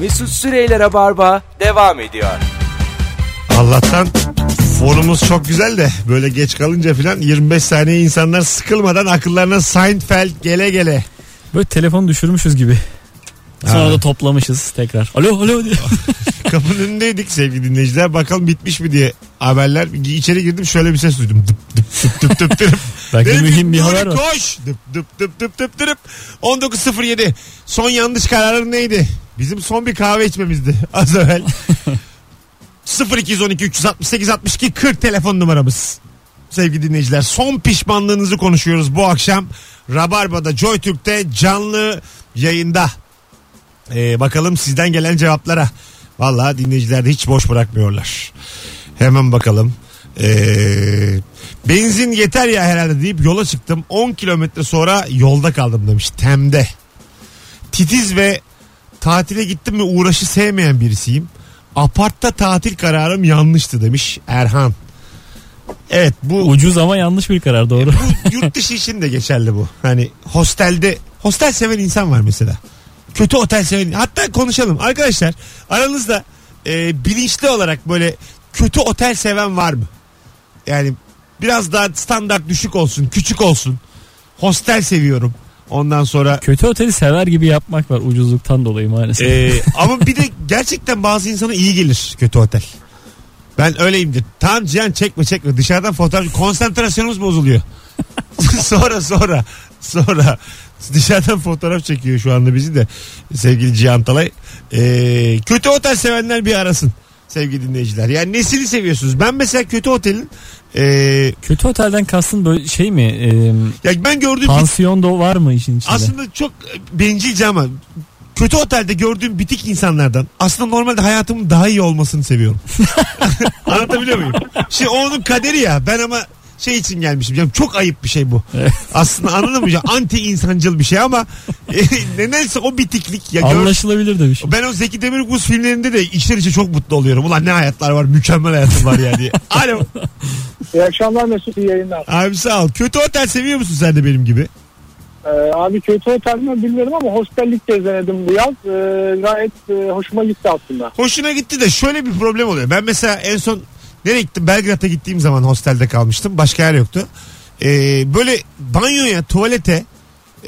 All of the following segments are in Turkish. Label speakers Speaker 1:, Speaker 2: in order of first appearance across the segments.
Speaker 1: Mesut Süreyler'e barba devam ediyor.
Speaker 2: Allah'tan fonumuz çok güzel de böyle geç kalınca filan 25 saniye insanlar sıkılmadan akıllarına Seinfeld gele gele.
Speaker 3: Böyle telefonu düşürmüşüz gibi. Sonra da toplamışız tekrar. Alo alo diye.
Speaker 2: Kapının önündeydik sevgili dinleyiciler. Bakalım bitmiş mi diye haberler. İçeri girdim şöyle bir ses duydum. Dıp dıp dıp dıp dıp dıp.
Speaker 3: Belki
Speaker 2: Dedim ki,
Speaker 3: mühim bir
Speaker 2: Nuri
Speaker 3: haber var.
Speaker 2: Koş. Dıp dıp dıp dıp dıp dıp. 19.07. Son yanlış kararın neydi? Bizim son bir kahve içmemizdi az evvel. 0212 368 62 40 telefon numaramız. Sevgili dinleyiciler son pişmanlığınızı konuşuyoruz bu akşam. Rabarba'da JoyTürk'te canlı yayında. Ee, bakalım sizden gelen cevaplara. Valla dinleyiciler de hiç boş bırakmıyorlar. Hemen bakalım. Ee, benzin yeter ya herhalde deyip yola çıktım. 10 kilometre sonra yolda kaldım demiş. Temde. Titiz ve tatile gittim ve uğraşı sevmeyen birisiyim. Apartta tatil kararım yanlıştı demiş Erhan. Evet bu
Speaker 3: Ucuz ama yanlış bir karar doğru.
Speaker 2: yurt dışı için de geçerli bu. Hani hostelde hostel seven insan var mesela. Kötü otel seven. Hatta konuşalım arkadaşlar. Aranızda e, bilinçli olarak böyle kötü otel seven var mı? Yani biraz daha standart düşük olsun, küçük olsun. Hostel seviyorum. Ondan sonra
Speaker 3: Kötü oteli sever gibi yapmak var ucuzluktan dolayı maalesef.
Speaker 2: ee, ama bir de gerçekten bazı insana iyi gelir kötü otel. Ben öyleyimdir. Tamam Cihan çekme çekme dışarıdan fotoğraf konsantrasyonumuz bozuluyor. sonra sonra sonra dışarıdan fotoğraf çekiyor şu anda bizi de sevgili Cihan Talay. Ee, kötü otel sevenler bir arasın sevgili dinleyiciler. Yani nesini seviyorsunuz? Ben mesela kötü otelin ee,
Speaker 3: Kötü otelden kastın böyle şey mi? Ee,
Speaker 2: ya ben gördüğüm bir-
Speaker 3: pansiyon da var mı işin içinde?
Speaker 2: Aslında çok bencilce ama kötü otelde gördüğüm bitik insanlardan aslında normalde hayatımın daha iyi olmasını seviyorum. Anlatabiliyor muyum? Şimdi o onun kaderi ya. Ben ama şey için gelmişim. canım. çok ayıp bir şey bu.
Speaker 3: Evet.
Speaker 2: Aslında anladın mı? Anti insancıl bir şey ama e, nedense o bitiklik. Ya gör-
Speaker 3: Anlaşılabilir şey. demiş.
Speaker 2: ben o Zeki Demirkubuz filmlerinde de içten içe çok mutlu oluyorum. Ulan ne hayatlar var mükemmel hayatım var ya diye. Alo.
Speaker 4: İyi akşamlar Mesut iyi yayınlar.
Speaker 2: Abi sağ ol. Kötü otel seviyor musun sen de benim gibi?
Speaker 4: Ee, abi kötü otel mi bilmiyorum ama hostellik de denedim bu yaz. Ee, gayet e, hoşuma gitti aslında.
Speaker 2: Hoşuna gitti de şöyle bir problem oluyor. Ben mesela en son nereye gittim? Belgrad'a gittiğim zaman hostelde kalmıştım. Başka yer yoktu. Ee, böyle banyoya, tuvalete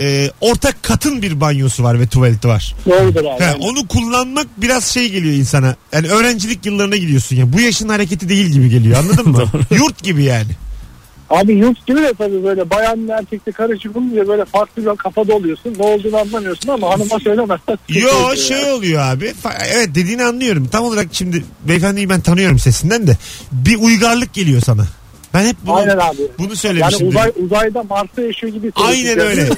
Speaker 2: e, ortak katın bir banyosu var ve tuvaleti var.
Speaker 4: Doğrudur abi.
Speaker 2: Ha, onu kullanmak biraz şey geliyor insana. Yani öğrencilik yıllarına gidiyorsun ya. Bu yaşın hareketi değil gibi geliyor anladın mı? Yurt gibi yani.
Speaker 4: Abi yurt gibi de tabii böyle bayanla erkekle karışık olunca böyle farklı bir kafada oluyorsun. Ne olduğunu anlamıyorsun ama hanıma söylemezsen.
Speaker 2: Yo şey oluyor abi. Fa- Evet dediğini anlıyorum. Tam olarak şimdi beyefendiyi ben tanıyorum sesinden de. Bir uygarlık geliyor sana. Ben hep bunu,
Speaker 4: Aynen abi.
Speaker 2: bunu
Speaker 4: Yani
Speaker 2: söylemişim.
Speaker 4: uzay, uzayda Mars'ta yaşıyor gibi.
Speaker 2: Aynen öyle.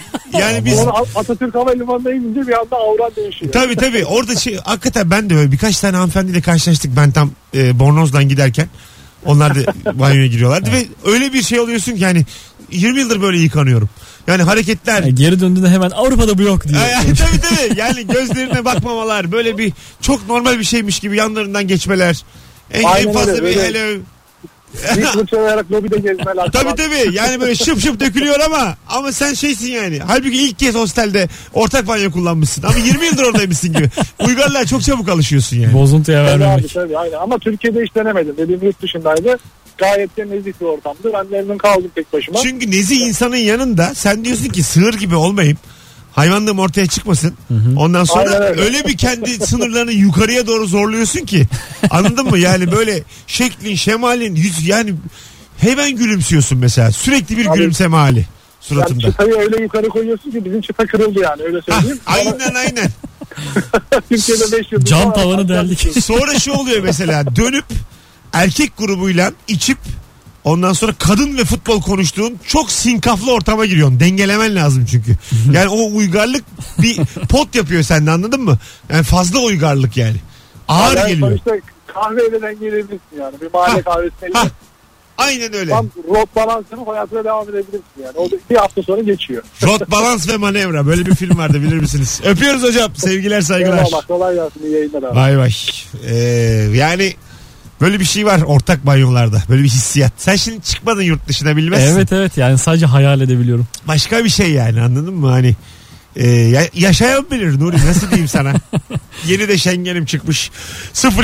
Speaker 2: Yani biz
Speaker 4: Sonra Atatürk Havalimanı'na inince bir anda avran değişiyor.
Speaker 2: tabii tabii orada şey hakikaten ben de öyle birkaç tane hanımefendiyle karşılaştık ben tam e, Bornoz'dan giderken. Onlar da banyoya giriyorlardı ve öyle bir şey oluyorsun ki yani 20 yıldır böyle yıkanıyorum. Yani hareketler
Speaker 3: Yani geri döndüğünde hemen Avrupa'da bu yok diyor.
Speaker 2: Ay, ay, tabii tabii yani gözlerine bakmamalar böyle bir çok normal bir şeymiş gibi yanlarından geçmeler. En, en
Speaker 4: Aynen
Speaker 2: fazla
Speaker 4: öyle,
Speaker 2: bir
Speaker 4: böyle-
Speaker 2: hello.
Speaker 4: Bir fırçalayarak lobide gezmeler.
Speaker 2: Tabii
Speaker 4: falan.
Speaker 2: tabii yani böyle şıp şıp dökülüyor ama ama sen şeysin yani. Halbuki ilk kez hostelde ortak banyo kullanmışsın ama 20 yıldır oradaymışsın gibi. Uygarlar çok çabuk alışıyorsun yani.
Speaker 3: Bozuntuya
Speaker 4: Tabii abi,
Speaker 3: vermemek.
Speaker 4: tabii, aynen. Ama Türkiye'de hiç denemedim. Dediğim yurt dışındaydı. Gayet de nezih bir ortamdı. Ben memnun kaldım tek başıma.
Speaker 2: Çünkü nezi insanın yanında sen diyorsun ki sığır gibi olmayayım. Hayvanlığım ortaya çıkmasın. Ondan sonra
Speaker 4: Aynen
Speaker 2: öyle.
Speaker 4: öyle.
Speaker 2: bir kendi sınırlarını yukarıya doğru zorluyorsun ki. Anladın mı? Yani böyle şeklin, şemalin, yüz yani hemen gülümsüyorsun mesela. Sürekli bir
Speaker 4: Abi-
Speaker 2: gülümseme hali
Speaker 4: Yani
Speaker 2: suratında.
Speaker 4: çıtayı öyle yukarı koyuyorsun ki bizim çıta kırıldı yani öyle
Speaker 2: Ah,
Speaker 4: söyleyeyim. Ama
Speaker 2: aynen aynen.
Speaker 4: Türkiye'de 5 yıl.
Speaker 3: Cam tavanı deldik.
Speaker 4: şey.
Speaker 2: Sonra şu oluyor mesela dönüp erkek grubuyla içip ondan sonra kadın ve futbol konuştuğun çok sinkaflı ortama giriyorsun. Dengelemen lazım çünkü. Yani o uygarlık bir pot yapıyor sende anladın mı? Yani fazla uygarlık yani. Ağır
Speaker 4: yani
Speaker 2: geliyor. Ah,
Speaker 4: Sonuçta kahveyle dengeleyebilirsin yani. Bir mahalle
Speaker 2: Ha,
Speaker 4: kahvesine
Speaker 2: ha,
Speaker 4: gidip
Speaker 2: Aynen öyle.
Speaker 4: tam rot balansını hayatına devam edebilirsin yani. O da bir hafta sonra geçiyor.
Speaker 2: Rot balans ve manevra. Böyle bir film vardı bilir misiniz? Öpüyoruz hocam. Sevgiler saygılar.
Speaker 4: Eyvallah kolay gelsin iyi yayınlar abi.
Speaker 2: Vay vay. Ee, yani böyle bir şey var ortak banyolarda. Böyle bir hissiyat. Sen şimdi çıkmadın yurt dışına bilmezsin.
Speaker 3: Evet evet yani sadece hayal edebiliyorum.
Speaker 2: başka bir şey yani anladın mı hani e, ya- yaşayan bilir Nuri nasıl diyeyim sana Yeni de şengenim çıkmış.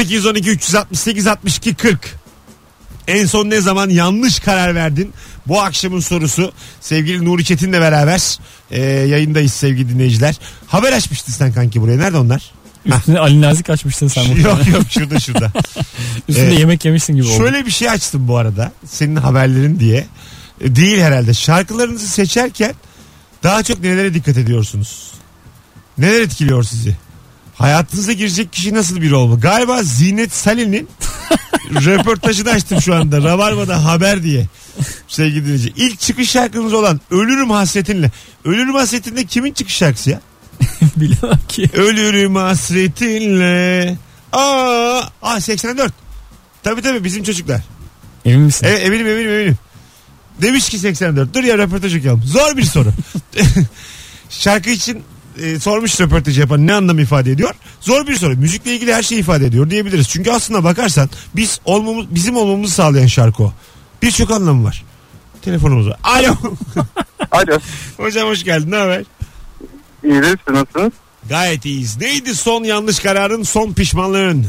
Speaker 2: 0212 368 62 40. En son ne zaman yanlış karar verdin? Bu akşamın sorusu sevgili Nuri Çetin'le beraber e, yayındayız sevgili dinleyiciler. Haber açmıştın sen kanki buraya. Nerede onlar?
Speaker 3: Üstüne Ali Nazik açmıştın sen bunu.
Speaker 2: yok yok şurada şurada.
Speaker 3: Üstünde
Speaker 2: Şey, Evet.
Speaker 3: yemek yemişsin gibi oldu.
Speaker 2: Şöyle bir şey açtım bu arada. Senin haberlerin diye. E, Değil herhalde. Şarkılarınızı seçerken daha çok nelere dikkat ediyorsunuz? Neler etkiliyor sizi? Hayatınıza girecek kişi nasıl biri olma? Galiba Zinet Salih'in röportajını açtım şu anda. Rabarba'da haber diye. Sevgili dinleyici. İlk çıkış şarkınız olan Ölürüm Hasretinle. Ölürüm Hasretinde kimin çıkış şarkısı ya?
Speaker 3: Bilemem ki.
Speaker 2: Ölürüm hasretinle. Aa, aa 84. Tabii tabii bizim çocuklar.
Speaker 3: Emin misin?
Speaker 2: Evet eminim eminim eminim. Demiş ki 84. Dur ya röportaj okuyalım. Zor bir soru. Şarkı için e, sormuş röportaj yapan ne anlam ifade ediyor? Zor bir soru. Müzikle ilgili her şeyi ifade ediyor diyebiliriz. Çünkü aslında bakarsan biz olmamız, bizim olmamızı sağlayan şarkı o. Birçok anlamı var. Telefonumuz var. Alo.
Speaker 5: Alo.
Speaker 2: Hocam hoş geldin. Ne haber?
Speaker 5: İyidir. Siz nasılsınız?
Speaker 2: Gayet iyiyiz. Neydi son yanlış kararın, son pişmanlığın?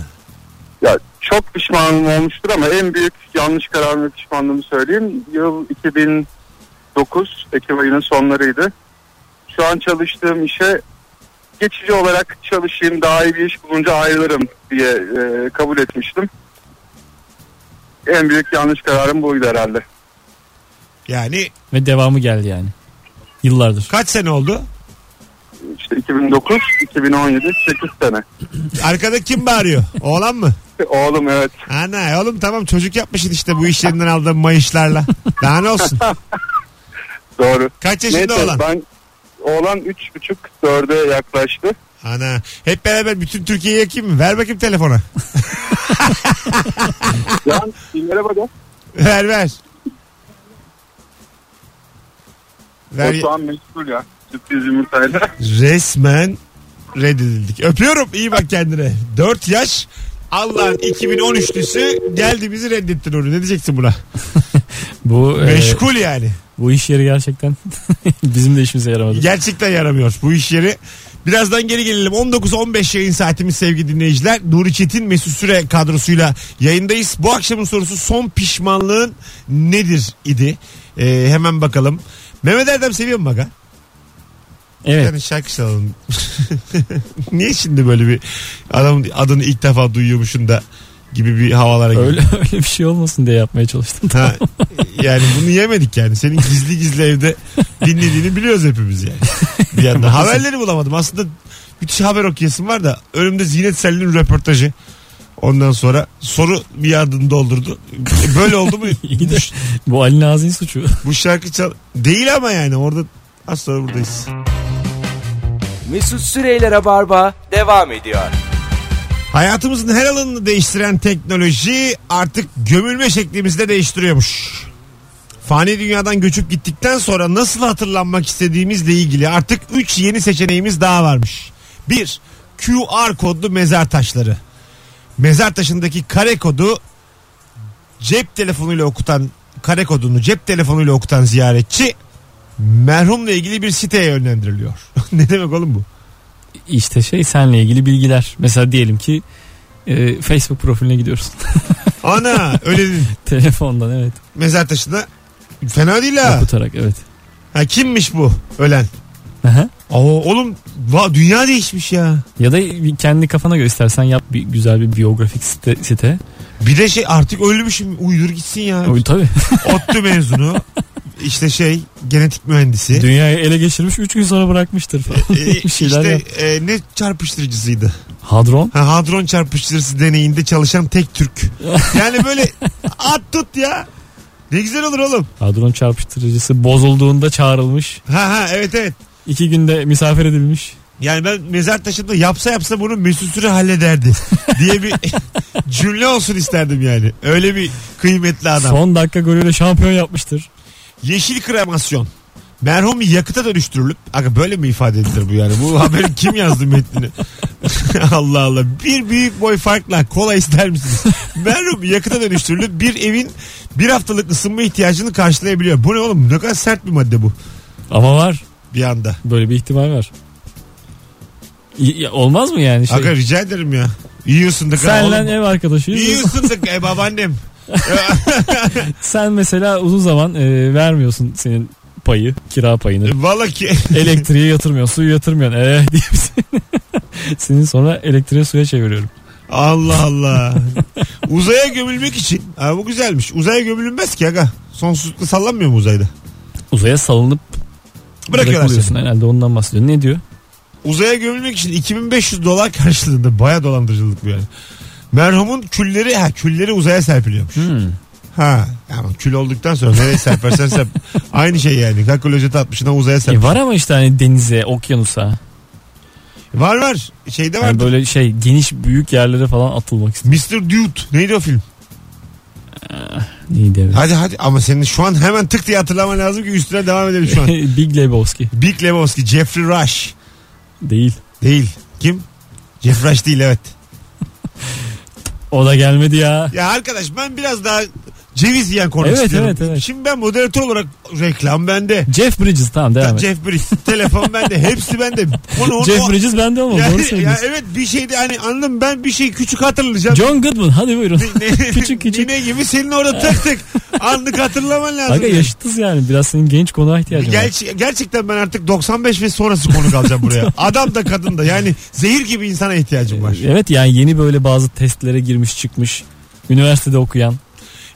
Speaker 5: Ya çok pişmanım olmuştur ama en büyük yanlış kararım ve pişmanlığımı söyleyeyim. Yıl 2009 Ekim ayının sonlarıydı. Şu an çalıştığım işe geçici olarak çalışayım daha iyi bir iş bulunca ayrılırım diye e, kabul etmiştim. En büyük yanlış kararım buydu herhalde.
Speaker 2: Yani
Speaker 3: Ve devamı geldi yani. Yıllardır.
Speaker 2: kaç sene oldu?
Speaker 5: İşte 2009, 2017, 8 sene.
Speaker 2: Arkada kim bağırıyor? Oğlan mı?
Speaker 5: Oğlum evet.
Speaker 2: Ana oğlum tamam çocuk yapmışsın işte bu işlerinden aldığın mayışlarla. Daha ne olsun?
Speaker 5: Doğru.
Speaker 2: Kaç yaşında
Speaker 5: Neyse,
Speaker 2: oğlan?
Speaker 5: Ben oğlan 3,5 4'e yaklaştı.
Speaker 2: Ana hep beraber bütün Türkiye'yi yakayım mı? Ver bakayım telefona.
Speaker 5: Can filmlere bakın.
Speaker 2: ver ver.
Speaker 5: O
Speaker 2: ver.
Speaker 5: şu an meşgul ya. Sürpriz yumurtayla.
Speaker 2: Resmen reddedildik. Öpüyorum iyi bak kendine. 4 yaş Allah'ın 2013'lüsü geldi bizi reddettin onu. Ne diyeceksin buna?
Speaker 3: Bu e,
Speaker 2: Meşgul yani.
Speaker 3: bu iş yeri gerçekten bizim de işimize yaramadı.
Speaker 2: Gerçekten yaramıyor bu iş yeri. Birazdan geri gelelim. 19-15 yayın saatimiz sevgili dinleyiciler. Nuri Çetin Mesut Süre kadrosuyla yayındayız. Bu akşamın sorusu son pişmanlığın nedir idi? Ee, hemen bakalım. Mehmet Erdem seviyor mu Maga?
Speaker 3: Evet.
Speaker 2: Yani şarkı çalalım. Niye şimdi böyle bir adamın adını ilk defa duyuyormuşsun da gibi bir havalara girdi?
Speaker 3: Öyle öyle bir şey olmasın diye yapmaya çalıştım.
Speaker 2: Ha, yani bunu yemedik yani. Senin gizli gizli evde dinlediğini biliyoruz hepimiz yani. Bir yandan. Haberleri bulamadım. Aslında müthiş haber okuyasım var da önümde Zinet Sel'in röportajı. Ondan sonra soru bir yardını doldurdu. E, Böyle oldu mu?
Speaker 3: İyi de-
Speaker 2: bu,
Speaker 3: Bu Ali Nazik'in suçu.
Speaker 2: bu şarkı çal... Değil ama yani orada az sonra buradayız.
Speaker 1: Mesut Süreyler'e barba devam ediyor.
Speaker 2: Hayatımızın her alanını değiştiren teknoloji artık gömülme şeklimizi de değiştiriyormuş. Fani dünyadan göçüp gittikten sonra nasıl hatırlanmak istediğimizle ilgili artık 3 yeni seçeneğimiz daha varmış. 1. QR kodlu mezar taşları. Mezar taşındaki kare kodu cep telefonuyla okutan kare kodunu cep telefonuyla okutan ziyaretçi merhumla ilgili bir siteye yönlendiriliyor. ne demek oğlum bu?
Speaker 3: İşte şey senle ilgili bilgiler. Mesela diyelim ki e, Facebook profiline gidiyorsun.
Speaker 2: Ana öyle değil.
Speaker 3: Telefondan evet.
Speaker 2: mezar taşına fena değil ha.
Speaker 3: Okutarak evet.
Speaker 2: Ha kimmiş bu ölen?
Speaker 3: Aha.
Speaker 2: Aa, oğlum va, dünya değişmiş ya.
Speaker 3: Ya da bir kendi kafana göre istersen yap bir güzel bir biyografik site. site.
Speaker 2: Bir de şey artık ölmüşüm uydur gitsin ya.
Speaker 3: O, tabii.
Speaker 2: Ottu mezunu. işte şey genetik mühendisi.
Speaker 3: Dünyayı ele geçirmiş 3 gün sonra bırakmıştır falan.
Speaker 2: Ee,
Speaker 3: bir şeyler
Speaker 2: işte
Speaker 3: yap.
Speaker 2: e, ne çarpıştırıcısıydı?
Speaker 3: Hadron.
Speaker 2: Ha, hadron çarpıştırıcısı deneyinde çalışan tek Türk. Yani böyle at tut ya. Ne güzel olur oğlum.
Speaker 3: Hadron çarpıştırıcısı bozulduğunda çağrılmış.
Speaker 2: Ha ha evet evet.
Speaker 3: 2 günde misafir edilmiş.
Speaker 2: Yani ben mezar taşında yapsa yapsa bunu Mesut Süre hallederdi diye bir cümle olsun isterdim yani. Öyle bir kıymetli adam.
Speaker 3: Son dakika golüyle şampiyon yapmıştır.
Speaker 2: Yeşil kremasyon. Merhum yakıta dönüştürülüp Aga böyle mi ifade edilir bu yani? Bu haberin kim yazdı metnini? Allah Allah. Bir büyük boy farkla kola ister misiniz? Merhum yakıta dönüştürülüp bir evin bir haftalık ısınma ihtiyacını karşılayabiliyor. Bu ne oğlum? Ne kadar sert bir madde bu
Speaker 3: Ama var.
Speaker 2: bir anda.
Speaker 3: Böyle bir ihtimal var. İyi- ya Olmaz mı yani şey?
Speaker 2: Aga rica ederim ya. İyi ısındık. ha oğlum.
Speaker 3: Senle ev arkadaşıyız.
Speaker 2: İyi ısındık e, babaannem.
Speaker 3: Sen mesela uzun zaman e, vermiyorsun senin payı, kira payını.
Speaker 2: Valla E, ki
Speaker 3: Elektriğe yatırmıyorsun, suyu yatırmıyorsun. Eee diye seni, seni sonra elektriğe suya çeviriyorum.
Speaker 2: Allah Allah. Uzaya gömülmek için. Ha, bu güzelmiş. Uzaya gömülünmez ki aga. Sonsuzlukta sallanmıyor mu uzayda?
Speaker 3: Uzaya salınıp
Speaker 2: Bırakıyorlar seni.
Speaker 3: bırakılıyorsun herhalde ondan bahsediyor. Ne diyor? E,
Speaker 2: Uzaya gömülmek için 2500 dolar karşılığında baya dolandırıcılık bu yani. Merhumun külleri ha külleri uzaya serpiliyormuş.
Speaker 3: Hmm.
Speaker 2: Ha ama kül olduktan sonra nereye serpersen serp. Aynı şey yani. Kakolojete atmışına uzaya
Speaker 3: E
Speaker 2: serp.
Speaker 3: var ama işte hani denize, okyanusa.
Speaker 2: Var var. Şeyde
Speaker 3: Yani
Speaker 2: vardı.
Speaker 3: böyle şey geniş büyük yerlere falan atılmak istiyor.
Speaker 2: Mr. Dude. Neydi o film?
Speaker 3: Neydi evet.
Speaker 2: Hadi hadi ama senin şu an hemen tık diye hatırlaman lazım ki üstüne devam edelim şu an.
Speaker 3: Big Lebowski
Speaker 2: Big Lebowski, Jeffrey Rush.
Speaker 3: değil.
Speaker 2: Değil. Kim? Jeffrey Rush değil evet.
Speaker 3: O da gelmedi ya.
Speaker 2: Ya arkadaş ben biraz daha ceviz yiyen konuk
Speaker 3: Evet,
Speaker 2: istiyorum.
Speaker 3: evet, evet.
Speaker 2: Şimdi ben moderatör olarak reklam bende.
Speaker 3: Jeff Bridges tamam devam et.
Speaker 2: Jeff Bridges, telefon bende, hepsi bende. Onu, onu,
Speaker 3: Jeff
Speaker 2: o-
Speaker 3: Bridges bende olmadı.
Speaker 2: Yani-
Speaker 3: Doğru
Speaker 2: ya
Speaker 3: söylüyorsun.
Speaker 2: evet bir şeydi hani anladım ben bir şey küçük hatırlayacağım.
Speaker 3: John Goodman hadi buyurun.
Speaker 2: Ne-
Speaker 3: küçük küçük.
Speaker 2: Nine gibi senin orada tık tık anlık hatırlaman lazım.
Speaker 3: Aga yaşıtız yani. Biraz senin genç konuğa ihtiyacın var.
Speaker 2: Ger- gerçekten ben artık 95 ve sonrası konuk alacağım buraya. Adam da kadın da yani zehir gibi insana ihtiyacım var.
Speaker 3: Evet yani yeni böyle bazı testlere girmiş çıkmış. Üniversitede okuyan.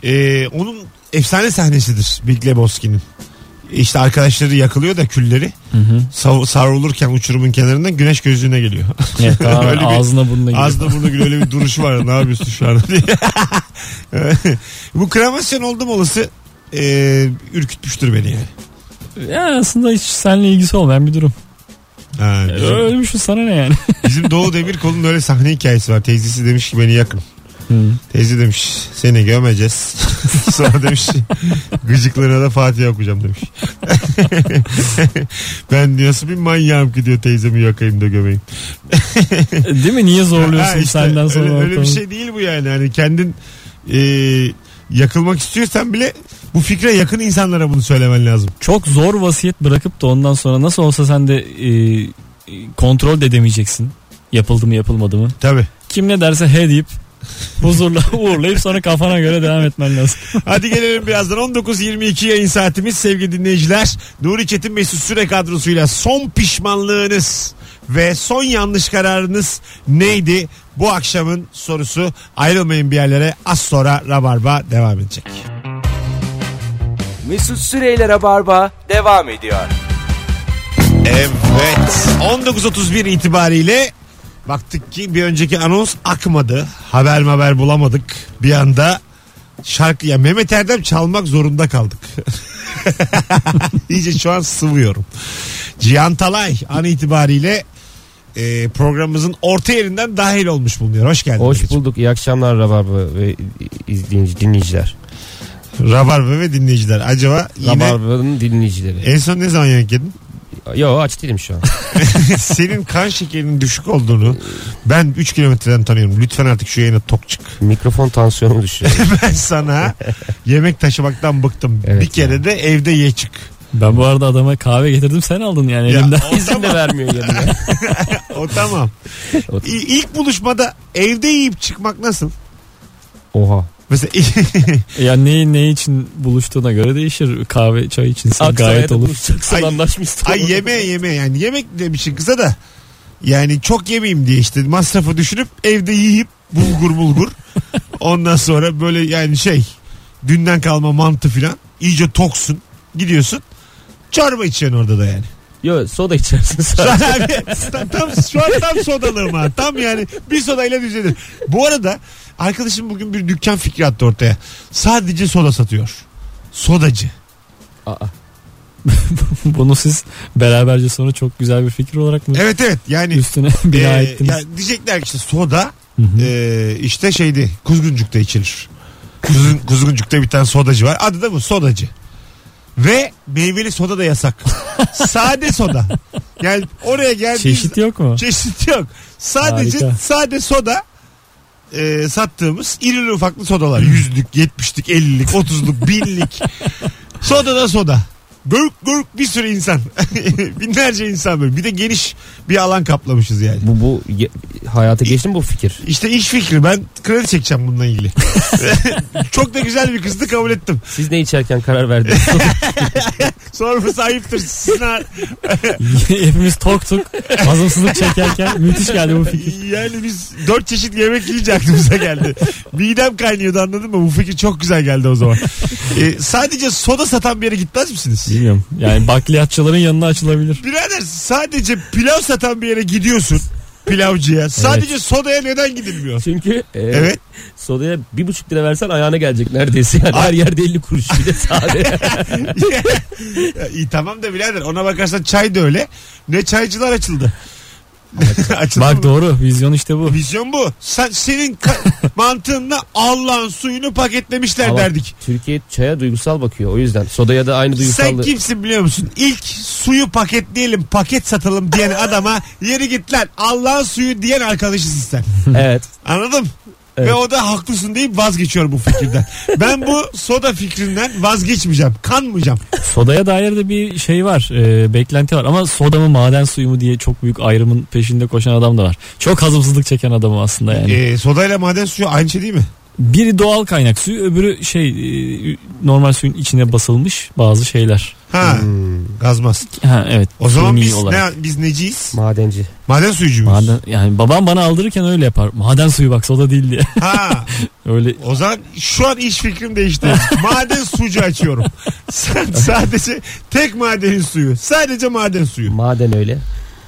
Speaker 2: Ee, onun efsane sahnesidir Big Lebowski'nin. İşte arkadaşları yakılıyor da külleri sav- savrulurken uçurumun kenarından güneş gözlüğüne geliyor.
Speaker 3: Evet, tamam,
Speaker 2: Öyle bir-
Speaker 3: ağzına burnuna giriyor.
Speaker 2: Ağzında burada gül öyle bir duruşu var. Ne yapıyorsun şu an diye. Bu kremasyon oldum olası e, ürkütmüştür beni yani.
Speaker 3: Ya aslında hiç seninle ilgisi olmayan bir durum. Ee,
Speaker 2: Ha, bizim,
Speaker 3: Ölmüşsün sana ne yani?
Speaker 2: bizim Doğu Demirkol'un öyle sahne hikayesi var. Teyzesi demiş ki beni yakın. Teyze demiş seni gömeceğiz. Sonra demiş gıcıklarına da Fatiha okuyacağım demiş. ben diyor, nasıl bir manyağım ki diyor teyzemi yakayım da gömeyim.
Speaker 3: E, Değil mi? Niye zorluyorsun
Speaker 2: Ha, işte
Speaker 3: senden sonra?
Speaker 2: öyle, öyle bir
Speaker 3: ortamı?
Speaker 2: şey değil bu yani. Hani kendin e, yakılmak istiyorsan bile bu fikre yakın insanlara bunu söylemen lazım.
Speaker 3: Çok zor vasiyet bırakıp da ondan sonra nasıl olsa sen de e, e, kontrol de edemeyeceksin. Yapıldı mı yapılmadı mı?
Speaker 2: Tabii.
Speaker 3: Kim ne derse he deyip huzurla uğurlayıp sonra kafana göre devam etmen lazım.
Speaker 2: Hadi gelelim birazdan 19.22 yayın saatimiz sevgili dinleyiciler. Nuri Çetin Mesut Süre kadrosuyla son pişmanlığınız ve son yanlış kararınız neydi? Bu akşamın sorusu ayrılmayın bir yerlere az sonra Rabarba devam edecek.
Speaker 1: Mesut Süreyler'e barba devam ediyor.
Speaker 2: Evet 19.31 itibariyle baktık ki bir önceki anons akmadı. Haber haber bulamadık. Bir anda şarkı ya Mehmet Erdem çalmak zorunda kaldık. İyice şu an sıvıyorum. Cihan Talay an itibariyle e, programımızın orta yerinden dahil olmuş bulunuyor. Hoş geldin.
Speaker 6: Hoş
Speaker 2: Egeciğim.
Speaker 6: bulduk. İyi akşamlar Rabarba ve izleyici dinleyiciler.
Speaker 2: Rabarba ve dinleyiciler. Acaba yine
Speaker 6: Rabarba'nın dinleyicileri.
Speaker 2: en son ne zaman yemek yedin?
Speaker 6: Yo aç değilim şu an.
Speaker 2: Senin kan şekerinin düşük olduğunu ben 3 kilometreden tanıyorum. Lütfen artık şu yayına tok çık.
Speaker 6: Mikrofon tansiyonu düşüyor.
Speaker 2: ben sana yemek taşımaktan bıktım.
Speaker 6: Evet
Speaker 2: bir kere
Speaker 6: ya.
Speaker 2: de evde ye çık.
Speaker 3: Ben bu arada adama kahve getirdim sen aldın yani
Speaker 2: Ya,
Speaker 3: elimden.
Speaker 2: o,
Speaker 6: İzin de vermiyor yanına.
Speaker 2: o tamam. ilk buluşmada evde yiyip çıkmak nasıl?
Speaker 6: Oha.
Speaker 2: Mesela
Speaker 3: Ya ne, ne için buluştuğuna göre değişir. Kahve çay içinse gayet olur.
Speaker 6: buluşacaksan
Speaker 2: Ay-
Speaker 6: anlaşmışsın.
Speaker 2: ay yeme yeme yani yemek demişsin kıza da yani çok yemeyeyim diye işte masrafı düşünüp evde yiyip bulgur bulgur ondan sonra böyle yani şey dünden kalma mantı filan iyice toksun gidiyorsun çorba içeceksin orada da yani.
Speaker 6: Yo soda içersin
Speaker 2: Şu
Speaker 6: sen.
Speaker 2: an abi tam, tam, şu an tam sodalığım ha. Tam yani bir sodayla düzelir. Bu arada arkadaşım bugün bir dükkan fikri attı ortaya. Sadece soda satıyor. Sodacı.
Speaker 6: Aa,
Speaker 3: Bunu siz beraberce sonra çok güzel bir fikir olarak mı
Speaker 2: Evet evet yani.
Speaker 3: üstüne bina
Speaker 2: e,
Speaker 3: ettiniz?
Speaker 2: ya diyecekler ki işte soda
Speaker 3: Hı hı.
Speaker 2: e, işte şeydi kuzguncukta içilir. Kuzgun, kuzguncukta bir tane sodacı var. Adı da bu sodacı. Ve meyveli soda da yasak. Sade soda. Yani oraya geldiğin
Speaker 3: Çeşit yok mu?
Speaker 2: Çeşit yok. Sadece
Speaker 3: Harika.
Speaker 2: sade soda e, sattığımız irili ufaklı sodalar. Yüzlük, yetmişlik, ellilik, otuzluk, binlik. soda da soda. Gırk gırk bir sürü insan. Binlerce insan böyle. Bir de geniş bir alan kaplamışız yani.
Speaker 6: Bu bu ye- hayata geçti mi bu fikir?
Speaker 2: İşte iş fikri ben kredi çekeceğim bununla ilgili. Çok da güzel bir kızdı kabul ettim.
Speaker 6: Siz ne içerken karar verdiniz?
Speaker 2: Sorması ayıptır. Sizin har-
Speaker 3: Hepimiz toktuk. Hazımsızlık çekerken müthiş geldi bu fikir.
Speaker 2: yani biz dört çeşit yemek yiyince aklımıza geldi. Midem kaynıyordu anladın mı? Bu fikir çok güzel geldi o zaman. Ee, sadece soda satan bir yere gitmez misiniz?
Speaker 3: Bilmiyorum. Yani bakliyatçıların yanına açılabilir.
Speaker 2: Birader sadece pilav satan bir yere gidiyorsun. Pilavcıya. Sadece sodaya neden gidilmiyor?
Speaker 6: Çünkü e,
Speaker 2: Evet.
Speaker 6: sodaya bir buçuk lira versen ayağına gelecek neredeyse. Yani her yerde 50 kuruş bir de sade.
Speaker 2: İyi tamam da birader ona bakarsan çay da öyle. Ne çaycılar açıldı. açıldı mı?
Speaker 3: Bak doğru. Vizyon işte bu.
Speaker 2: Vizyon bu. Sen, senin ka- mantığında Allah'ın suyunu paketlemişler
Speaker 6: Ama
Speaker 2: derdik.
Speaker 6: Türkiye çaya duygusal bakıyor o yüzden. Sodaya da aynı
Speaker 2: Sen
Speaker 6: duygusallığı.
Speaker 2: kimsin biliyor musun? İlk suyu paketleyelim, paket satalım diyen adama yeri git lan. Allah'ın suyu diyen arkadaşısın sen.
Speaker 6: Evet.
Speaker 2: Anladım.
Speaker 6: Evet.
Speaker 2: Ve o da haklısın deyip vazgeçiyor bu fikirden. ben bu soda fikrinden vazgeçmeyeceğim. Kanmayacağım.
Speaker 3: Sodaya dair de bir şey var. e, beklenti var. Ama soda mı maden suyu mu diye çok büyük ayrımın peşinde koşan adam da var. Çok hazımsızlık çeken adamı aslında yani.
Speaker 2: Ee, sodayla maden suyu aynı şey değil mi?
Speaker 3: Biri doğal kaynak suyu öbürü şey e, normal suyun içine basılmış bazı şeyler.
Speaker 2: Ha,
Speaker 6: Hmm,
Speaker 2: gazmaz.
Speaker 3: Ha evet.
Speaker 2: O zaman
Speaker 3: suni
Speaker 2: biz
Speaker 3: olarak.
Speaker 2: ne biz neciyiz?
Speaker 6: madenci.
Speaker 2: Maden suyucu muyuz?
Speaker 3: Maden, yani babam bana aldırırken öyle yapar. Maden suyu bak soda değil diye.
Speaker 2: Ha.
Speaker 3: öyle
Speaker 2: O zaman şu an iş fikrim değişti. maden suyu açıyorum. Sen sadece tek madenin suyu. Sadece maden suyu.
Speaker 6: Maden öyle.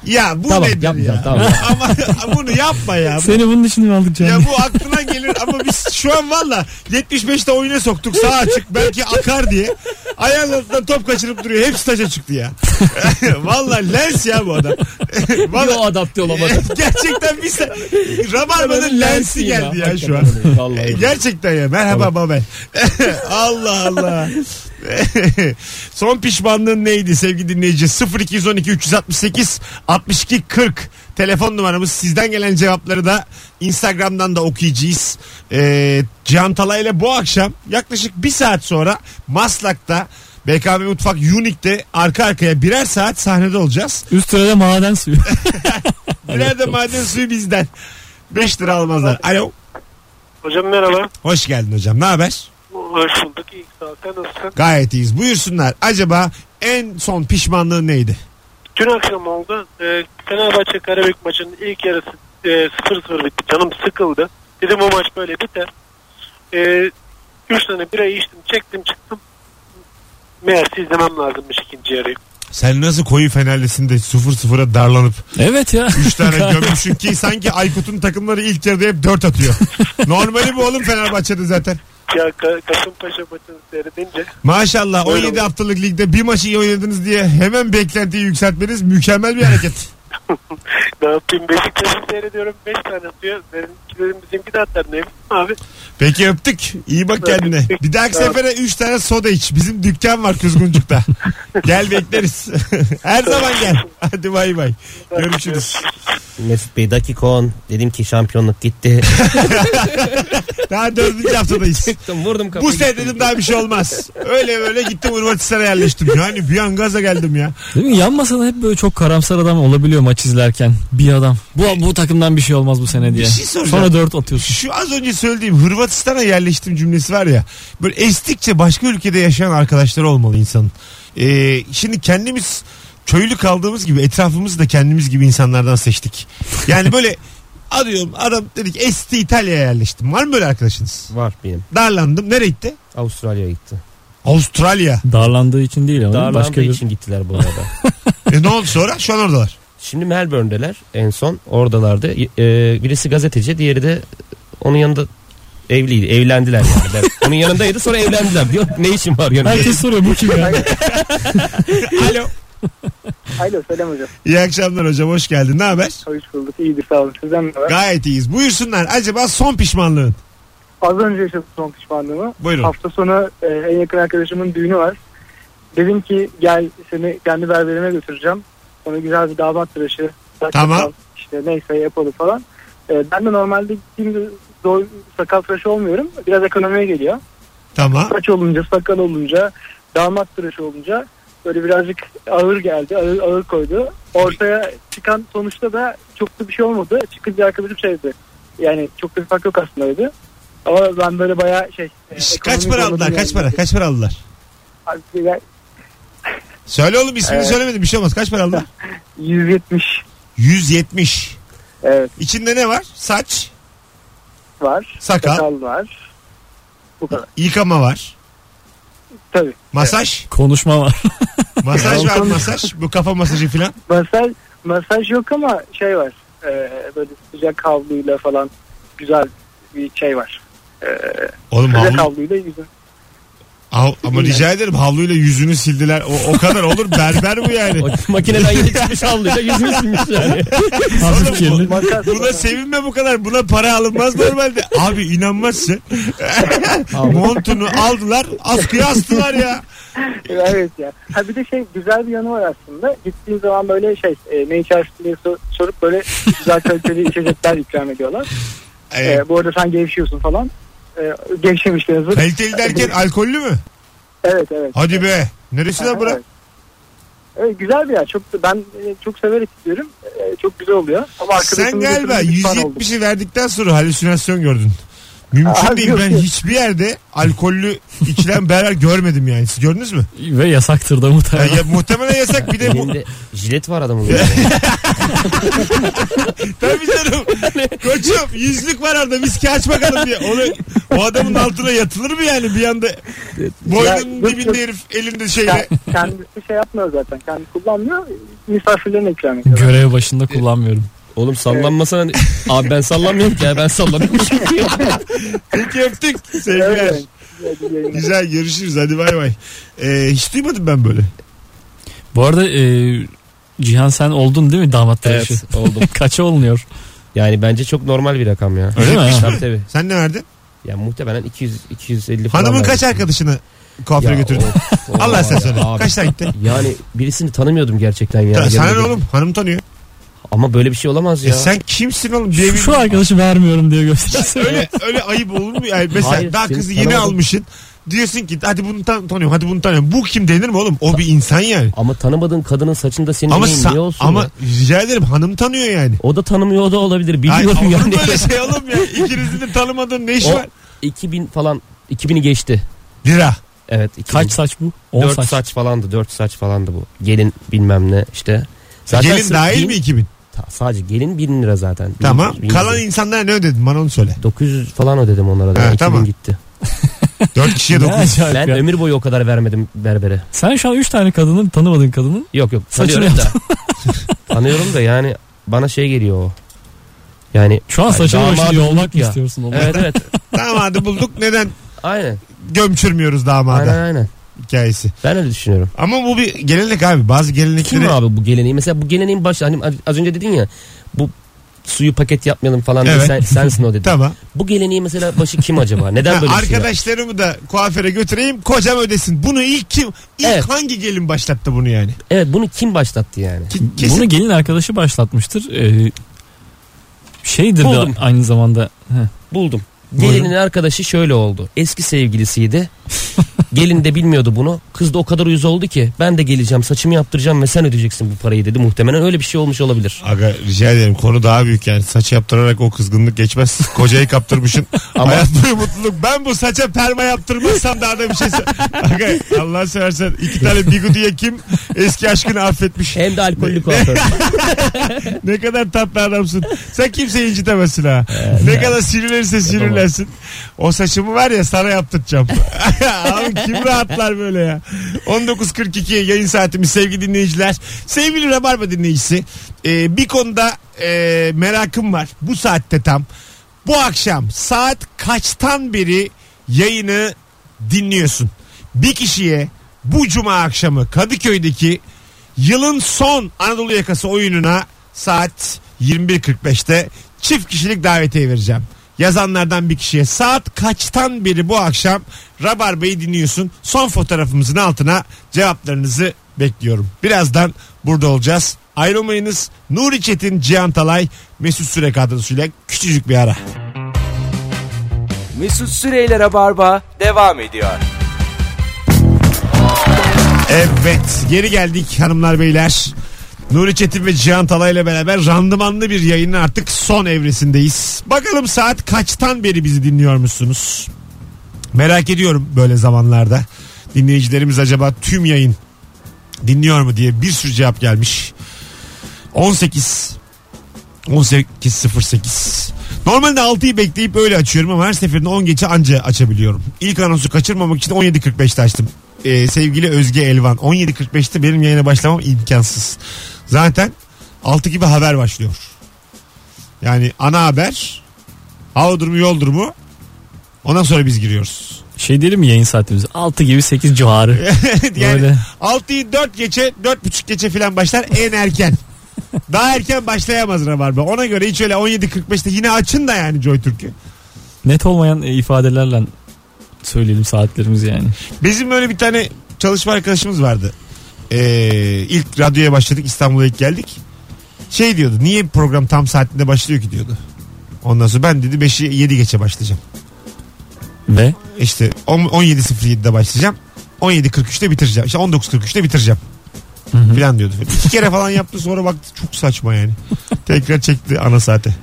Speaker 2: Ya bu
Speaker 6: Tamam,
Speaker 2: nedir
Speaker 6: yapmayacağım,
Speaker 2: ya?
Speaker 6: tamam.
Speaker 2: Ama bunu yapma ya.
Speaker 3: seni bunun için mi aldık canım?
Speaker 2: Ya bu aklına gelir ama biz şu an valla 75'te oyuna soktuk sağ açık belki akar diye. Ayağının altından top kaçırıp duruyor. Hepsi taca çıktı ya. valla lens ya bu adam.
Speaker 6: Yo
Speaker 2: valla
Speaker 6: adapte olamadım.
Speaker 2: gerçekten biz de Rabarba'nın lensi geldi ya şu an. E,
Speaker 6: Vallahi.
Speaker 2: Gerçekten ya. Merhaba Babel. Allah Allah. Son pişmanlığın neydi sevgili dinleyici? 0212 368 62 40 telefon numaramız. Sizden gelen cevapları da Instagram'dan da okuyacağız. E, Can Talay ile bu akşam yaklaşık bir saat sonra Maslak'ta BKM Mutfak Unique'de arka arkaya birer saat sahnede olacağız.
Speaker 3: Üst sırada maden suyu.
Speaker 2: Birer de maden suyu bizden. 5 lira almazlar. Alo.
Speaker 7: Hocam merhaba.
Speaker 2: Hoş geldin hocam. Ne haber?
Speaker 7: Hoş bulduk. İyi zaten nasılsın?
Speaker 2: Gayet iyiyiz. Buyursunlar. Acaba en son pişmanlığın neydi?
Speaker 7: Dün akşam oldu. Ee, Fenerbahçe Karabük maçının ilk yarısı e, 0-0 bitti. Canım sıkıldı. Dedim o maç böyle biter. Ee, üç tane birayı içtim, çektim çıktım. Meğerse izlemem lazımmış ikinci yarıyı.
Speaker 2: Sen nasıl koyu fenerlisin de 0-0'a darlanıp
Speaker 3: evet ya.
Speaker 2: 3 tane gömmüşsün ki sanki Aykut'un takımları ilk yarıda hep 4 atıyor. Normali bu oğlum Fenerbahçe'de zaten.
Speaker 7: Ya Ka- Kasımpaşa maçını seyredince
Speaker 2: Maşallah 17 haftalık ligde bir maçı iyi oynadınız diye hemen beklentiyi yükseltmeniz mükemmel bir hareket.
Speaker 7: ne yapayım? Beşiktaş'ı seyrediyorum. Beş tane atıyor. Benim, dedim, bizimki de atar. Ne bileyim abi?
Speaker 2: Peki öptük. İyi bak kendine. Bir dahaki sefere 3 tane soda iç. Bizim dükkan var Kuzguncuk'ta. Gel bekleriz. Her zaman gel. Hadi bay bay. Görüşürüz.
Speaker 6: Mesut Bey dakikon. Dedim ki şampiyonluk gitti.
Speaker 2: Daha dördüncü haftadayız.
Speaker 6: Çıktım vurdum
Speaker 2: Bu
Speaker 6: kafayı.
Speaker 2: sene dedim daha bir şey olmaz. Öyle böyle gittim Hırvatistan'a yerleştim. Yani bir an gaza geldim ya.
Speaker 3: Değil mi? Yan masada hep böyle çok karamsar adam olabiliyor maç izlerken. Bir adam. Bu bu takımdan bir şey olmaz bu sene diye.
Speaker 2: şey soracağım.
Speaker 3: Sonra dört atıyorsun.
Speaker 2: Şu az önce söylediğim Hırvatistan'a yerleştim cümlesi var ya. Böyle estikçe başka ülkede yaşayan arkadaşları olmalı insanın. Ee, şimdi kendimiz köylü kaldığımız gibi etrafımızı da kendimiz gibi insanlardan seçtik. Yani böyle arıyorum adam dedik esti İtalya'ya yerleştim. Var mı böyle arkadaşınız?
Speaker 6: Var benim.
Speaker 2: Darlandım. Nereye gitti?
Speaker 6: Avustralya'ya gitti.
Speaker 2: Avustralya.
Speaker 3: Darlandığı için değil ama
Speaker 6: Darlandığı
Speaker 3: başka bir...
Speaker 6: için gittiler bu arada.
Speaker 2: E ne oldu sonra? Şu an oradalar.
Speaker 6: Şimdi Melbourne'deler en son oradalardı. Y- e, birisi gazeteci diğeri de onun yanında evliydi. Evlendiler yani. Ben- onun yanındaydı sonra evlendiler. Diyor ne işin var yanında?
Speaker 3: Herkes soruyor bu kim ya?
Speaker 2: Alo.
Speaker 4: Alo selam hocam.
Speaker 2: İyi akşamlar hocam. Hoş geldin. Ne haber?
Speaker 4: Hoş bulduk. İyidir sağ olun. Sizden ne haber?
Speaker 2: Gayet iyiyiz. Buyursunlar. Acaba son pişmanlığın.
Speaker 4: Az önce yaşadım son pişmanlığımı.
Speaker 2: Buyurun.
Speaker 4: Hafta sonu e, en yakın arkadaşımın düğünü var. Dedim ki gel seni kendi berberime götüreceğim. Sonra güzel bir damat tıraşı. saç
Speaker 2: Tamam.
Speaker 4: sakal, İşte neyse yapalım falan. E, ben de normalde gittiğimde zor sakal tıraşı olmuyorum. Biraz ekonomiye geliyor.
Speaker 2: Tamam.
Speaker 4: Saç olunca, sakal olunca, damat tıraşı olunca böyle birazcık ağır geldi. Ağır, ağır koydu. Ortaya çıkan sonuçta da çok da bir şey olmadı. Çıkınca arkadaşım şey dedi. Yani çok da bir fark yok aslında dedi. Ama ben böyle bayağı şey... e,
Speaker 2: Şş, Kaç
Speaker 4: ekonomik
Speaker 2: para
Speaker 4: olmadım
Speaker 2: aldılar?
Speaker 4: yani.
Speaker 2: Kaç para? Kaç para aldılar?
Speaker 4: Abi,
Speaker 2: Söyle oğlum ismini
Speaker 4: Evet.
Speaker 2: söylemedim bir şey olmaz. Kaç para aldılar?
Speaker 4: 170
Speaker 2: 170.
Speaker 4: evet
Speaker 2: İçinde ne var? Saç,
Speaker 4: var.
Speaker 2: sakal,
Speaker 4: Sakal var. Bu kadar.
Speaker 2: yıkama var.
Speaker 4: Tabii.
Speaker 2: Masaj.
Speaker 3: Konuşma var.
Speaker 2: Masaj var
Speaker 4: Balkon-
Speaker 2: masaj. Bu kafa masajı filan.
Speaker 4: Masaj, masaj yok ama şey var. E, böyle sıcak havluyla falan güzel bir şey var.
Speaker 2: Oğlum
Speaker 4: Sıcak
Speaker 2: havlu,
Speaker 4: havluyla güzel.
Speaker 2: hav- ama rica ederim havluyla yüzünü sildiler. O, o kadar olur berber bu yani.
Speaker 6: O makineden yeni çıkmış havluyla yüzünü silmiş yani.
Speaker 3: Hafif kirli.
Speaker 4: Makas
Speaker 2: Buna sevinme bu kadar. Buna para alınmaz normalde. Abi inanmazsın. Montunu aldılar. Askıya astılar ya.
Speaker 4: evet ya. Ha bir de şey güzel bir yanı var aslında. Gittiğin zaman böyle şey e, ne içersin diye sor- sorup böyle güzel kaliteli içecekler ikram ediyorlar. E,
Speaker 2: Ee,
Speaker 4: bu arada sen gevşiyorsun falan. E, gevşemiş yazık.
Speaker 2: kaliteli derken alkollü mü?
Speaker 4: Evet evet.
Speaker 2: Hadi be. Neresi lan bura?
Speaker 4: Evet. Evet, güzel bir yer. Çok da- ben e, çok severek gidiyorum. E, çok güzel oluyor. Ama arkadaşımla
Speaker 2: Sen galiba
Speaker 4: götürdüm, bir fan oldum.
Speaker 2: 170'i verdikten sonra halüsinasyon gördün. Mümkün
Speaker 4: Abi
Speaker 2: değil.
Speaker 4: yok
Speaker 2: Ben
Speaker 4: yok.
Speaker 2: hiçbir yerde alkollü içilen berber görmedim yani. Siz gördünüz mü?
Speaker 3: Ve yasaktır da
Speaker 2: Ya,
Speaker 3: muhtemelen.
Speaker 2: ya muhtemelen yasak. Bir de bu,
Speaker 6: Elinde jilet var adamın.
Speaker 2: Tabii canım. Koçum yüzlük var orada viski aç bakalım diye. Onu, o adamın altına yatılır mı yani bir anda? Boynunun
Speaker 4: Ya,
Speaker 2: dibinde herif elinde şeyle.
Speaker 4: Kend- Kendisi şey yapmıyor zaten. Kendi kullanmıyor. Misafirlerine ikram ediyor.
Speaker 3: Görev başında kullanmıyorum.
Speaker 6: Oğlum sallanmasana. Abi ben sallanmıyorum ki ya ben sallanıyormuşum.
Speaker 2: Peki öptük. Sevgiler.
Speaker 4: Evet. evet. İyi yayınlar.
Speaker 2: Güzel görüşürüz hadi bay bay. Ee, hiç duymadım ben böyle.
Speaker 3: Bu arada e, Cihan sen oldun değil mi damat tıraşı?
Speaker 6: evet oldum.
Speaker 3: Kaça olunuyor?
Speaker 6: Yani bence çok normal bir rakam ya.
Speaker 3: Öyle mi?
Speaker 6: Tabii tabii.
Speaker 2: Sen ne verdin?
Speaker 6: Ya muhtemelen 200 250 falan.
Speaker 2: Hanımın
Speaker 6: verdim.
Speaker 2: kaç arkadaşını kuaföre
Speaker 6: Ya
Speaker 2: götürdün?
Speaker 6: of, of,
Speaker 2: Allah sen
Speaker 6: ya
Speaker 2: söyle.
Speaker 6: abi.
Speaker 2: Kaç tane gitti?
Speaker 6: Yani birisini tanımıyordum gerçekten yani.
Speaker 2: Ta- Sana ne
Speaker 6: Yanımda-
Speaker 2: oğlum? Hanım tanıyor.
Speaker 6: Ama böyle bir şey olamaz
Speaker 2: E
Speaker 6: ya.
Speaker 2: sen kimsin oğlum? Diye bir-
Speaker 3: Şu arkadaşı vermiyorum diye gösterse.
Speaker 2: öyle, öyle ayıp olur mu? Yani mesela
Speaker 6: Hayır,
Speaker 2: daha
Speaker 6: seni
Speaker 2: kızı yeni
Speaker 6: tanımadım.
Speaker 2: almışsın. Diyorsun ki hadi bunu tan- tanıyorum hadi bunu tanıyorum. Bu kim denir mi oğlum? O bir insan yani.
Speaker 6: Ama tanımadığın kadının saçında senin
Speaker 2: Ama
Speaker 6: neyin,
Speaker 2: sa-
Speaker 6: niye olsun
Speaker 2: ama
Speaker 6: ya?
Speaker 2: rica ederim hanım tanıyor yani.
Speaker 6: O da tanımıyor o da olabilir.
Speaker 2: Ay,
Speaker 6: Biliyorum
Speaker 2: olur mu
Speaker 6: yani.
Speaker 2: böyle şey oğlum ya? İkinizin de tanımadığın ne iş
Speaker 6: O
Speaker 2: var?
Speaker 6: 2000 falan 2000'i geçti.
Speaker 2: Lira.
Speaker 6: Evet. 2000.
Speaker 3: Kaç saç bu? 10
Speaker 6: 4
Speaker 3: saç.
Speaker 6: saç. falandı. 4 saç falandı bu. Gelin bilmem ne işte. Zaten
Speaker 2: gelin
Speaker 6: sırf
Speaker 2: dahil
Speaker 6: bin-
Speaker 2: mi 2000?
Speaker 6: Ta- sadece gelin 1000 lira zaten. Bin-
Speaker 2: Tamam.
Speaker 6: bin-
Speaker 2: Kalan insanlara ne ödedin bana onu söyle.
Speaker 6: 900 falan ödedim onlara da.
Speaker 2: Ha,
Speaker 6: 2000
Speaker 2: tamam.
Speaker 6: gitti.
Speaker 2: 4 kişiye
Speaker 3: Ne
Speaker 2: 9.
Speaker 3: acayip
Speaker 6: Ben
Speaker 3: ya.
Speaker 6: ömür boyu o kadar vermedim berbere.
Speaker 3: Sen şu an 3 tane kadının tanımadığın kadının
Speaker 6: Yok yok
Speaker 3: Saçını
Speaker 6: tanıyorum da. tanıyorum da yani bana şey geliyor o. Yani
Speaker 3: şu an
Speaker 6: Ay,
Speaker 3: saçını
Speaker 6: damadı
Speaker 3: başını yolmak mı
Speaker 6: ya.
Speaker 3: istiyorsun? oğlum?
Speaker 6: evet evet
Speaker 2: damadı bulduk neden
Speaker 6: aynen
Speaker 2: gömçürmüyoruz damada
Speaker 6: aynen aynen.
Speaker 2: hikayesi.
Speaker 6: Ben öyle düşünüyorum.
Speaker 2: Ama bu bir gelenek abi. Bazı
Speaker 6: Kim
Speaker 2: gelenekleri
Speaker 6: abi bu geleneği? Mesela bu geleneğin başı hani az- az önce dedin ya bu suyu paket yapmayalım falan diye
Speaker 2: Evet.
Speaker 6: sen, sensin o dedin.
Speaker 2: Tamam.
Speaker 6: Bu geleneği mesela başı kim acaba? Neden böyle
Speaker 2: Ha,
Speaker 6: bir şey var?
Speaker 2: arkadaşlarımı da kuaföre götüreyim kocam ödesin. Bunu ilk kim? ilk
Speaker 6: Evet.
Speaker 2: hangi gelin başlattı bunu yani?
Speaker 6: Evet bunu kim başlattı yani?
Speaker 2: Ki- Kesin.
Speaker 3: Bunu gelin arkadaşı başlatmıştır. Ee, şeydir
Speaker 6: Buldum.
Speaker 3: de aynı zamanda. Heh.
Speaker 6: Buldum.
Speaker 2: Buyurun.
Speaker 6: Gelinin arkadaşı şöyle oldu. Eski sevgilisiydi. Gelin de bilmiyordu bunu. Kız da o kadar uyuz oldu ki ben de geleceğim saçımı yaptıracağım ve sen ödeyeceksin bu parayı dedi. Muhtemelen öyle bir şey olmuş olabilir.
Speaker 2: Aga rica ederim konu daha büyük yani saç yaptırarak o kızgınlık geçmez. Kocayı kaptırmışın
Speaker 6: Ama-
Speaker 2: hayat boyu mutluluk. Ben bu saça perma yaptırmazsam daha da bir şey sö- Aga Allah seversen iki tane bigudiye kim eski aşkını affetmiş.
Speaker 6: Hem de alkollü kuaför.
Speaker 2: ne kadar tatlı adamsın. Sen kimseyi incitemezsin ha. ne kadar sinirlenirse sinirlensin. O saçımı var ya sana yaptıracağım. Abi kim rahatlar böyle ya. 19.42 yayın saatimiz sevgili dinleyiciler. Sevgili Rabarba dinleyicisi. e, bir konuda e, merakım var. Bu saatte tam. Bu akşam saat kaçtan beri yayını dinliyorsun? Bir kişiye bu cuma akşamı Kadıköy'deki Yılın son Anadolu yakası oyununa saat 21.45'te çift kişilik davetiye vereceğim. Yazanlardan bir kişiye saat kaçtan beri bu akşam Rabarba'yı dinliyorsun. Son fotoğrafımızın altına cevaplarınızı bekliyorum. Birazdan burada olacağız. Ayrılmayınız. Nuri Çetin, Cihan Talay, Mesut Süre kadrosuyla küçücük bir ara.
Speaker 1: Mesut Süreyler'e barba devam ediyor.
Speaker 2: Evet geri geldik hanımlar beyler. Nuri Çetin ve Cihan Talay ile beraber randımanlı bir yayının artık son evresindeyiz. Bakalım saat kaçtan beri bizi dinliyor musunuz? Merak ediyorum böyle zamanlarda. Dinleyicilerimiz acaba tüm yayın dinliyor mu diye bir sürü cevap gelmiş. 18 18.08 Normalde 6'yı bekleyip öyle açıyorum ama her seferinde 10 geçe anca açabiliyorum. İlk anonsu kaçırmamak için 17.45'te açtım. Ee, sevgili Özge Elvan 17.45'te benim yayına başlamam imkansız. Zaten 6 gibi haber başlıyor. Yani ana haber hava durumu yol durumu ondan sonra biz giriyoruz.
Speaker 3: Şey diyelim mi yayın saatimiz? 6 gibi 8 civarı.
Speaker 2: yani
Speaker 3: Böyle.
Speaker 2: 6'yı 4 geçe 4.30 geçe falan başlar en erken. Daha erken başlayamaz Rabarba. Ona göre hiç öyle 17.45'te yine açın da yani Joy Türk'ü.
Speaker 3: Net olmayan e, ifadelerle söyleyelim saatlerimizi yani.
Speaker 2: Bizim böyle bir tane çalışma arkadaşımız vardı. Ee, ilk radyoya başladık İstanbul'a ilk geldik. Şey diyordu niye program tam saatinde başlıyor ki diyordu. Ondan sonra ben dedi 5'i 7 geçe başlayacağım.
Speaker 3: Ve
Speaker 2: İşte on- 17.07'de başlayacağım. 17.43'te bitireceğim. İşte 19.43'te bitireceğim.
Speaker 3: hı.
Speaker 2: Falan diyordu. İki kere falan yaptı sonra baktı çok saçma yani. Tekrar çekti ana saate.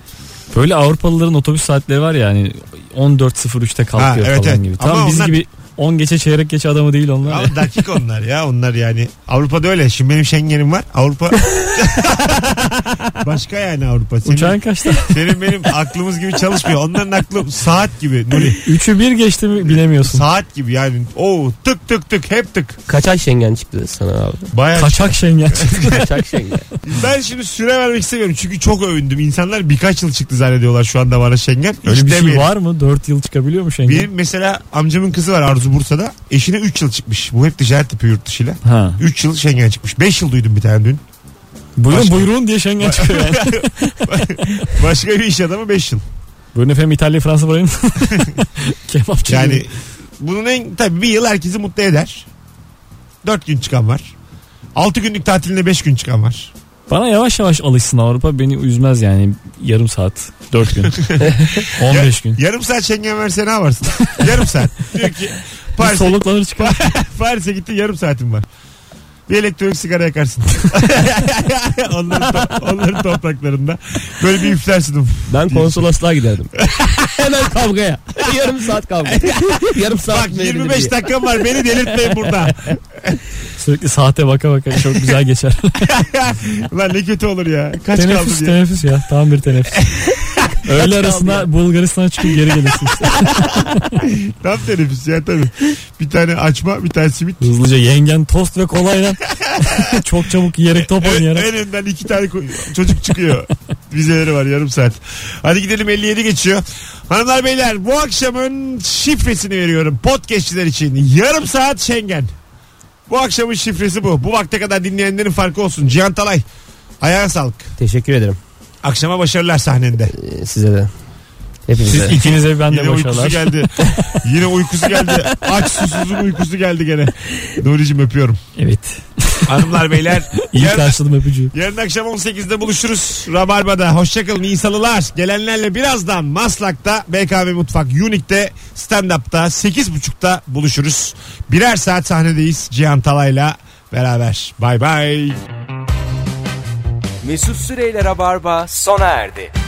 Speaker 3: böyle Avrupalıların otobüs saatleri var ya hani 14.03'te kalkıyor
Speaker 2: Ha, evet,
Speaker 3: falan
Speaker 2: evet.
Speaker 3: gibi.
Speaker 2: Ama
Speaker 3: Tam biz
Speaker 2: onlar-
Speaker 3: gibi 10 geçe çeyrek geçe adamı değil onlar. ya.
Speaker 2: Ama dakik onlar ya. Onlar yani Avrupa'da öyle. Şimdi benim Schengen'im var. Avrupa başka yani Avrupa. Senin,
Speaker 3: Uçağın kaçta?
Speaker 2: senin benim aklımız gibi çalışmıyor. Onların aklı saat gibi. Nuri.
Speaker 3: 3'ü 1 geçti mi bilemiyorsun.
Speaker 2: Saat gibi yani. Oo tık tık tık hep tık.
Speaker 6: Kaç ay Schengen çıktı sana abi?
Speaker 2: Bayağı.
Speaker 3: Kaçak şengen.
Speaker 6: Kaçak Schengen.
Speaker 2: Ben şimdi süre vermek istemiyorum. Çünkü çok övündüm. İnsanlar birkaç yıl çıktı zannediyorlar şu anda bana Schengen. Hiç
Speaker 3: Öyle bir şey
Speaker 2: demeyin.
Speaker 3: var mı? 4 yıl çıkabiliyor mu şengen?
Speaker 2: Benim mesela amcamın kızı var Arzu Bursa'da. Eşine 3 yıl çıkmış. Bu hep ticaret tipi yurt dışıyla.
Speaker 3: Ha.
Speaker 2: 3 yıl Schengen çıkmış. 5 yıl duydum bir tane dün.
Speaker 3: Buyurun
Speaker 2: Başka-
Speaker 3: buyurun diye şengen çıkıyor yani.
Speaker 2: Başka bir iş adamı 5 yıl.
Speaker 3: buyurun efendim İtalya Fransa bırakın. Kebapçı.
Speaker 2: Yani
Speaker 3: gibi.
Speaker 2: bunun en tabii bir yıl herkesi mutlu eder. Dört gün çıkan var. Altı günlük tatiline beş gün çıkan var.
Speaker 3: Bana yavaş yavaş alışsın Avrupa beni üzmez yani. Yarım saat. 4 gün. 15 gün.
Speaker 2: Yarım saat Schengen verse ne yaparsın? yarım saat. Diyor ki
Speaker 3: Bir
Speaker 2: Paris'e,
Speaker 3: soluklanır çıkar.
Speaker 2: Paris'e gitti yarım saatim var. Bir elektronik sigara yakarsın. onların, to- onların topraklarında. Böyle bir üflersin. Uf.
Speaker 6: Ben konsolosluğa giderdim. Hemen kavgaya. Yarım saat kavga. Yarım saat
Speaker 2: Bak
Speaker 6: verilir
Speaker 2: 25
Speaker 6: diye.
Speaker 2: dakikam var beni delirtmeyin burada.
Speaker 3: Sürekli saate baka baka çok güzel geçer.
Speaker 2: Lan ne kötü olur ya. Kaç kaldı
Speaker 3: teneffüs
Speaker 2: diye.
Speaker 3: teneffüs ya. Tam bir teneffüs. Öğle arasında Bulgaristan'a çıkıp geri gelirsin işte.
Speaker 2: Tam teneffüs ya tabii. Bir tane açma bir tane simit.
Speaker 3: Hızlıca yengen tost ve kolayla çok çabuk yiyerek top
Speaker 2: Ö-
Speaker 3: oynayarak.
Speaker 2: En önden iki tane ko- çocuk çıkıyor. Vizeleri var yarım saat. Hadi gidelim 57 geçiyor. Hanımlar beyler bu akşamın şifresini veriyorum podcastçiler için. Yarım saat Schengen. Bu akşamın şifresi bu. Bu vakte kadar dinleyenlerin farkı olsun. Cihan Talay ayağına sağlık.
Speaker 6: Teşekkür ederim
Speaker 2: Akşama başarılar sahnende.
Speaker 6: Ee, size de.
Speaker 3: Siz
Speaker 6: Hepinize.
Speaker 3: ikinize ben de
Speaker 2: Yine uykusu
Speaker 3: başarılar.
Speaker 2: geldi. Yine uykusu geldi. Aç susuzun uykusu geldi gene. Nuri'cim öpüyorum.
Speaker 3: Evet.
Speaker 2: Hanımlar beyler.
Speaker 3: İyi
Speaker 2: yarın-
Speaker 3: karşıladım öpücüğü.
Speaker 2: Yarın akşam 18'de buluşuruz Rabarba'da. Hoşçakalın iyi salılar. Gelenlerle birazdan Maslak'ta BKM Mutfak Unique'de stand-up'ta 8.30'da buluşuruz. Birer saat sahnedeyiz Cihan Talay'la beraber. Bay bay.
Speaker 1: Mesut Süreyler'e barba sona erdi.